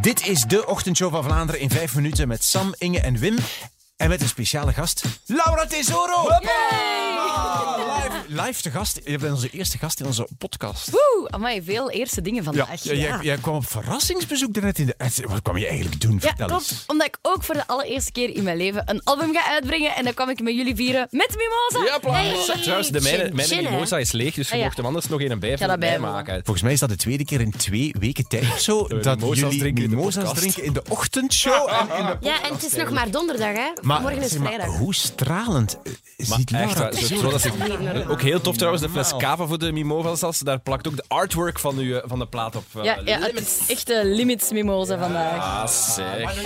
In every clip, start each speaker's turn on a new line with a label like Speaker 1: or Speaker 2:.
Speaker 1: Dit is de ochtendshow van Vlaanderen in vijf minuten met Sam, Inge en Wim. En met een speciale gast, Laura Tesoro. Ah, live, live te gast. Je bent onze eerste gast in onze podcast.
Speaker 2: Woe, amai, veel eerste dingen vandaag.
Speaker 1: Ja, jij, jij kwam op verrassingsbezoek daarnet in de... eh, Wat kwam je eigenlijk doen?
Speaker 2: Ja,
Speaker 1: Vertel
Speaker 2: klopt.
Speaker 1: eens.
Speaker 2: Omdat ik ook voor de allereerste keer in mijn leven een album ga uitbrengen. En dan kwam ik met jullie vieren met Mimosa.
Speaker 3: Ja, applaus. Trouwens, de mijne,
Speaker 2: Chill,
Speaker 3: mijn
Speaker 2: chill, hè?
Speaker 3: mimosa is leeg, dus je
Speaker 2: Ah, ja.
Speaker 3: mocht hem anders nog een bij,
Speaker 2: ga dat
Speaker 3: bijmaken.
Speaker 1: Volgens mij is dat de tweede keer in twee weken tijd of zo
Speaker 3: we
Speaker 1: dat
Speaker 3: mimosas
Speaker 1: jullie
Speaker 3: drinken in de
Speaker 1: mimosas
Speaker 3: podcast.
Speaker 1: drinken in de ochtendshow. En in de...
Speaker 4: Ja, en het is nog maar donderdag, hè? Morgen is
Speaker 1: zeg maar,
Speaker 4: vrijdag.
Speaker 1: hoe stralend eh, is
Speaker 3: Maar
Speaker 1: niet
Speaker 3: echt,
Speaker 1: Laura
Speaker 3: waar, zo- zo
Speaker 1: Tesoro?
Speaker 3: dat ze- ook heel tof trouwens, de fles
Speaker 1: Normaal.
Speaker 3: cava voor de mimosas. Daar plakt ook de artwork van, uw, eh, van de plaat op. eh,
Speaker 2: Ja, ja, het
Speaker 3: limits.
Speaker 2: is echt de limits Mimosa vandaag.
Speaker 3: Ah, zeg.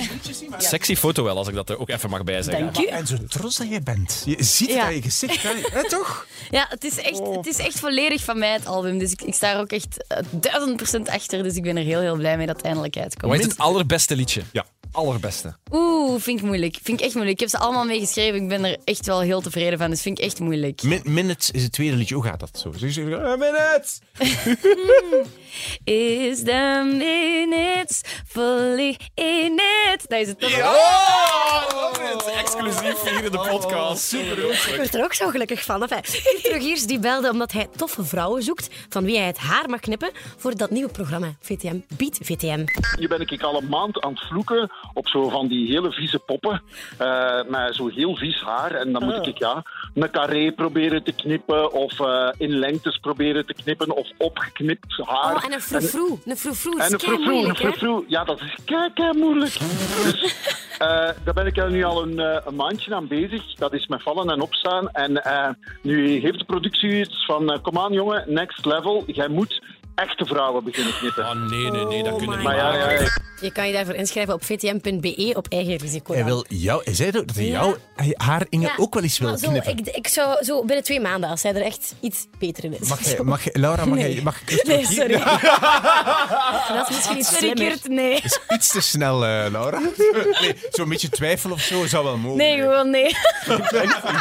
Speaker 3: Sexy foto wel, als ik dat er ook even mag bijzeggen.
Speaker 2: Dank je.
Speaker 1: En zo trots dat jij bent. Je ziet het
Speaker 2: Ja.
Speaker 1: aan je gezicht. hè? Hè, toch?
Speaker 2: Ja, het is, echt, het is echt volledig van mij, het album. Dus ik, ik sta er ook echt duizend procent achter. Dus ik ben er heel, heel blij mee dat het eindelijk uitkomt.
Speaker 3: Wat is het allerbeste liedje?
Speaker 1: Ja.
Speaker 3: Allerbeste.
Speaker 2: Oeh, vind ik moeilijk. Vind ik echt moeilijk. Ik heb ze allemaal meegeschreven. Ik ben er echt wel heel tevreden van. Dus vind ik echt moeilijk.
Speaker 1: Min- Minutes is het tweede liedje. Hoe gaat dat zo? Zo- zo- eh, Minutes!
Speaker 2: Is the minutes fully in it? Dat is het toch?
Speaker 3: Exclusief hier in de
Speaker 1: Oh.
Speaker 3: podcast. Super.
Speaker 4: Ik word er ook zo gelukkig van. Enfin, Kim Trogiers die belde omdat hij toffe vrouwen zoekt van wie hij het haar mag knippen voor dat nieuwe programma VTM Beat VTM.
Speaker 5: Hier ben ik al een maand aan het vloeken op zo van die hele vieze poppen. eh, met zo heel vies haar. En dan
Speaker 4: Ah.
Speaker 5: moet ik ja, een carré proberen te knippen. Of eh, in lengtes proberen te knippen. Of opgeknipt haar.
Speaker 4: Oh, en een froufrou. Een froufrou. Dat
Speaker 5: En
Speaker 4: is
Speaker 5: een froufrou, een
Speaker 4: moeilijk, hè?
Speaker 5: froufrou. Ja, dat is kei, kei moeilijk. Dus eh, daar ben ik er nu al een, eh, een maandje aan bezig. Dat is met vallen en opstaan. En eh, nu heeft de productie iets van... eh, Kom aan, jongen, next level. Jij moet echte vrouwen beginnen knippen.
Speaker 3: Oh nee, nee, nee, dat kunnen we
Speaker 4: my
Speaker 3: niet
Speaker 5: maar ja,
Speaker 3: maken.
Speaker 5: ja, ja.
Speaker 4: Je kan je daarvoor inschrijven op vtm.be E op eigen risico.
Speaker 1: Hij wil jou, hij zei ook dat hij jou, hij- haar Inge
Speaker 4: Ja,
Speaker 1: ook wel eens wil
Speaker 4: maar zo,
Speaker 1: knippen.
Speaker 4: Ik, ik zou zo binnen twee maanden, als hij er echt iets beter in is.
Speaker 1: Mag, jij- mag, jij- Laura, mag, jij- mag ik
Speaker 4: Nee, sorry. dat is misschien iets slimmer.
Speaker 2: Verkeerd, nee.
Speaker 1: is iets te snel, eh, Laura? nee, Zo'n beetje twijfel of zo zou wel mogen.
Speaker 2: Nee, gewoon nee.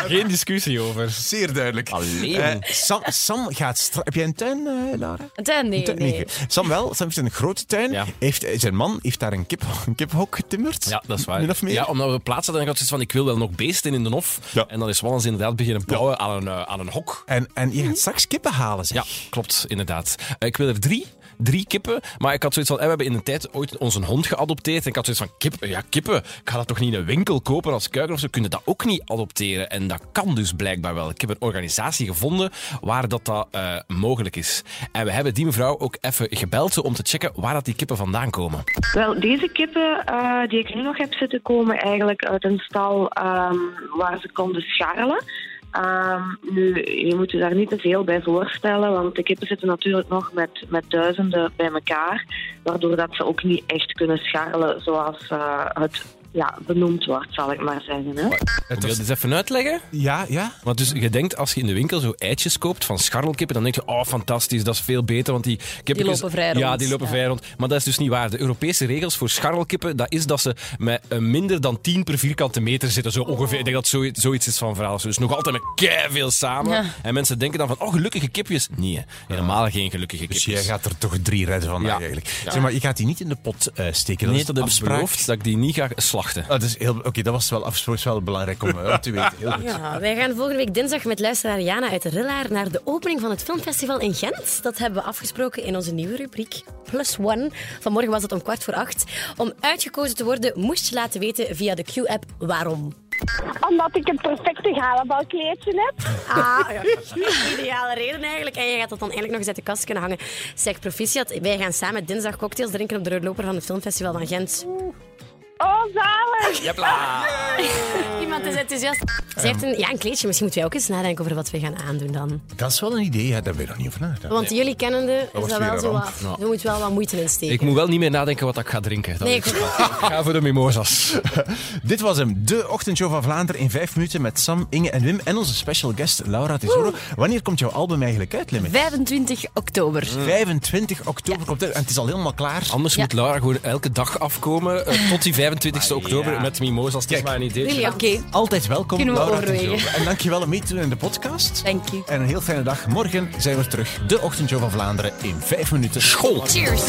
Speaker 3: Geen discussie over.
Speaker 1: Zeer duidelijk.
Speaker 3: Allee.
Speaker 1: Eh, Sam, Sam gaat stra- Heb jij een tuin, eh, Laura?
Speaker 2: Dan nee,
Speaker 1: Tuin-
Speaker 2: nee.
Speaker 1: ge- Sam wel. Sam heeft een grote tuin.
Speaker 3: Ja.
Speaker 1: Heeft, eh, zijn man heeft daar een, kip, een kiphok getimmerd.
Speaker 3: Ja, dat is waar.
Speaker 1: Min of meer.
Speaker 3: Ja, omdat we plaats hadden en ik had zoiets van, ik wil wel nog beesten in de hof.
Speaker 1: Ja.
Speaker 3: En dan is Wallace inderdaad beginnen bouwen aan, een, eh, aan een hok.
Speaker 1: en, en
Speaker 4: Mhm.
Speaker 1: je gaat straks kippen halen, zeg.
Speaker 3: Ja, klopt, inderdaad. Eh, Ik wil er drie. Drie kippen. Maar ik had zoiets van... eh, We hebben in de tijd ooit onze hond geadopteerd. En ik had zoiets van... Kippen? Ja, kippen. Ik ga dat toch niet in een winkel kopen als kuiker of zo? Kunnen dat ook niet adopteren? En dat kan dus blijkbaar wel. Ik heb een organisatie gevonden waar dat, dat eh, mogelijk is. En we hebben die mevrouw ook even gebeld zo om te checken waar dat die kippen vandaan komen.
Speaker 6: Wel, deze kippen eh, die ik nu nog heb zitten komen eigenlijk uit een stal ehm, waar ze konden scharrelen. Ehm, nu, je moet je daar niet te veel bij voorstellen, want de kippen zitten natuurlijk nog met, met duizenden bij elkaar, waardoor dat ze ook niet echt kunnen scharrelen zoals eh, het ja, benoemd wordt, zal ik maar zeggen. Hè.
Speaker 1: Eh,
Speaker 3: Wil
Speaker 1: toch-
Speaker 3: je dit even uitleggen?
Speaker 1: ja, ja.
Speaker 3: Want dus je denkt, als je in de winkel zo eitjes koopt van scharrelkippen, dan denk je, oh fantastisch, dat is veel beter, want die kippen...
Speaker 2: Die lopen vrij
Speaker 3: Ja,
Speaker 2: rond,
Speaker 3: die lopen
Speaker 2: ja.
Speaker 3: vrij rond. Maar dat is dus niet waar. De Europese regels voor scharrelkippen, dat is dat ze met een minder dan 10 per vierkante meter zitten, zo ongeveer. Ik denk dat zoiets, zoiets is van verhaal. Dus nog altijd met veel samen.
Speaker 2: Ja.
Speaker 3: En mensen denken dan van, oh, gelukkige kipjes. Nee, helemaal geen gelukkige
Speaker 1: Dus
Speaker 3: kipjes.
Speaker 1: jij gaat er toch drie redden vandaag
Speaker 3: Ja.
Speaker 1: eigenlijk. Zeg maar, je gaat die niet in de pot eh, steken.
Speaker 3: Nee,
Speaker 1: is
Speaker 3: dat
Speaker 1: de
Speaker 3: heb ik
Speaker 1: afspraak.
Speaker 3: beloofd, dat ik die niet ga slachten.
Speaker 1: Ah, dat, is heel, oké, dat was wel afspraak, is wel belangrijk om eh, om te weten. Heel goed.
Speaker 4: Ja, wij gaan volgende week dinsdag met luisteraar Jana uit Rillaar naar de opening van het filmfestival in Gent. Dat hebben we afgesproken in onze nieuwe rubriek Plus One. Vanmorgen was het om kwart voor acht. Om uitgekozen te worden moest je laten weten via de Q-app waarom.
Speaker 7: Omdat ik een perfecte galabalkleedje heb.
Speaker 4: Ah, ja. ideale reden eigenlijk. En je gaat dat dan eindelijk nog eens uit de kast kunnen hangen. Zeg, proficiat, wij gaan samen dinsdag cocktails drinken op de rode loper van het filmfestival van Gent.
Speaker 7: Oh, zalig.
Speaker 4: Iemand is enthousiast. Ze heeft een, ja, een kleedje. Misschien moeten wij ook eens nadenken over wat we gaan aandoen dan.
Speaker 1: Dat is wel een idee, hè, daar hebben we nog niet over nagedacht.
Speaker 4: Want jullie kennende is
Speaker 1: wordt
Speaker 4: dat
Speaker 1: weer
Speaker 4: wel
Speaker 1: een
Speaker 4: zo
Speaker 1: ramp.
Speaker 4: wat... Er moet wel wat moeite in steken.
Speaker 3: Ik moet wel niet meer nadenken wat ik ga drinken. Dat
Speaker 4: Nee,
Speaker 3: is-
Speaker 4: ik-
Speaker 3: ga voor de mimosas.
Speaker 1: Dit was hem, de ochtendshow van Vlaanderen in vijf minuten met Sam, Inge en Wim en onze special guest Laura Tesoro. Wanneer komt jouw album eigenlijk uit, Limit?
Speaker 2: 25 oktober.
Speaker 1: 25 oktober komt het uit en het is al helemaal klaar.
Speaker 3: Anders moet Laura gewoon elke dag afkomen eh, tot die 25 oktober
Speaker 1: ja.
Speaker 3: met mimosas. Het is
Speaker 1: Kijk.
Speaker 3: maar een ideetje.
Speaker 2: Oké,
Speaker 1: Altijd welkom,
Speaker 2: Kunnen we
Speaker 1: Laura
Speaker 2: overwegen.
Speaker 1: Tesoro. En dankjewel om mee te doen in de podcast.
Speaker 2: Dank je.
Speaker 1: En een heel fijne dag. Morgen zijn we terug, de ochtendshow van Vlaanderen in vijf minuten. School.
Speaker 2: cheers.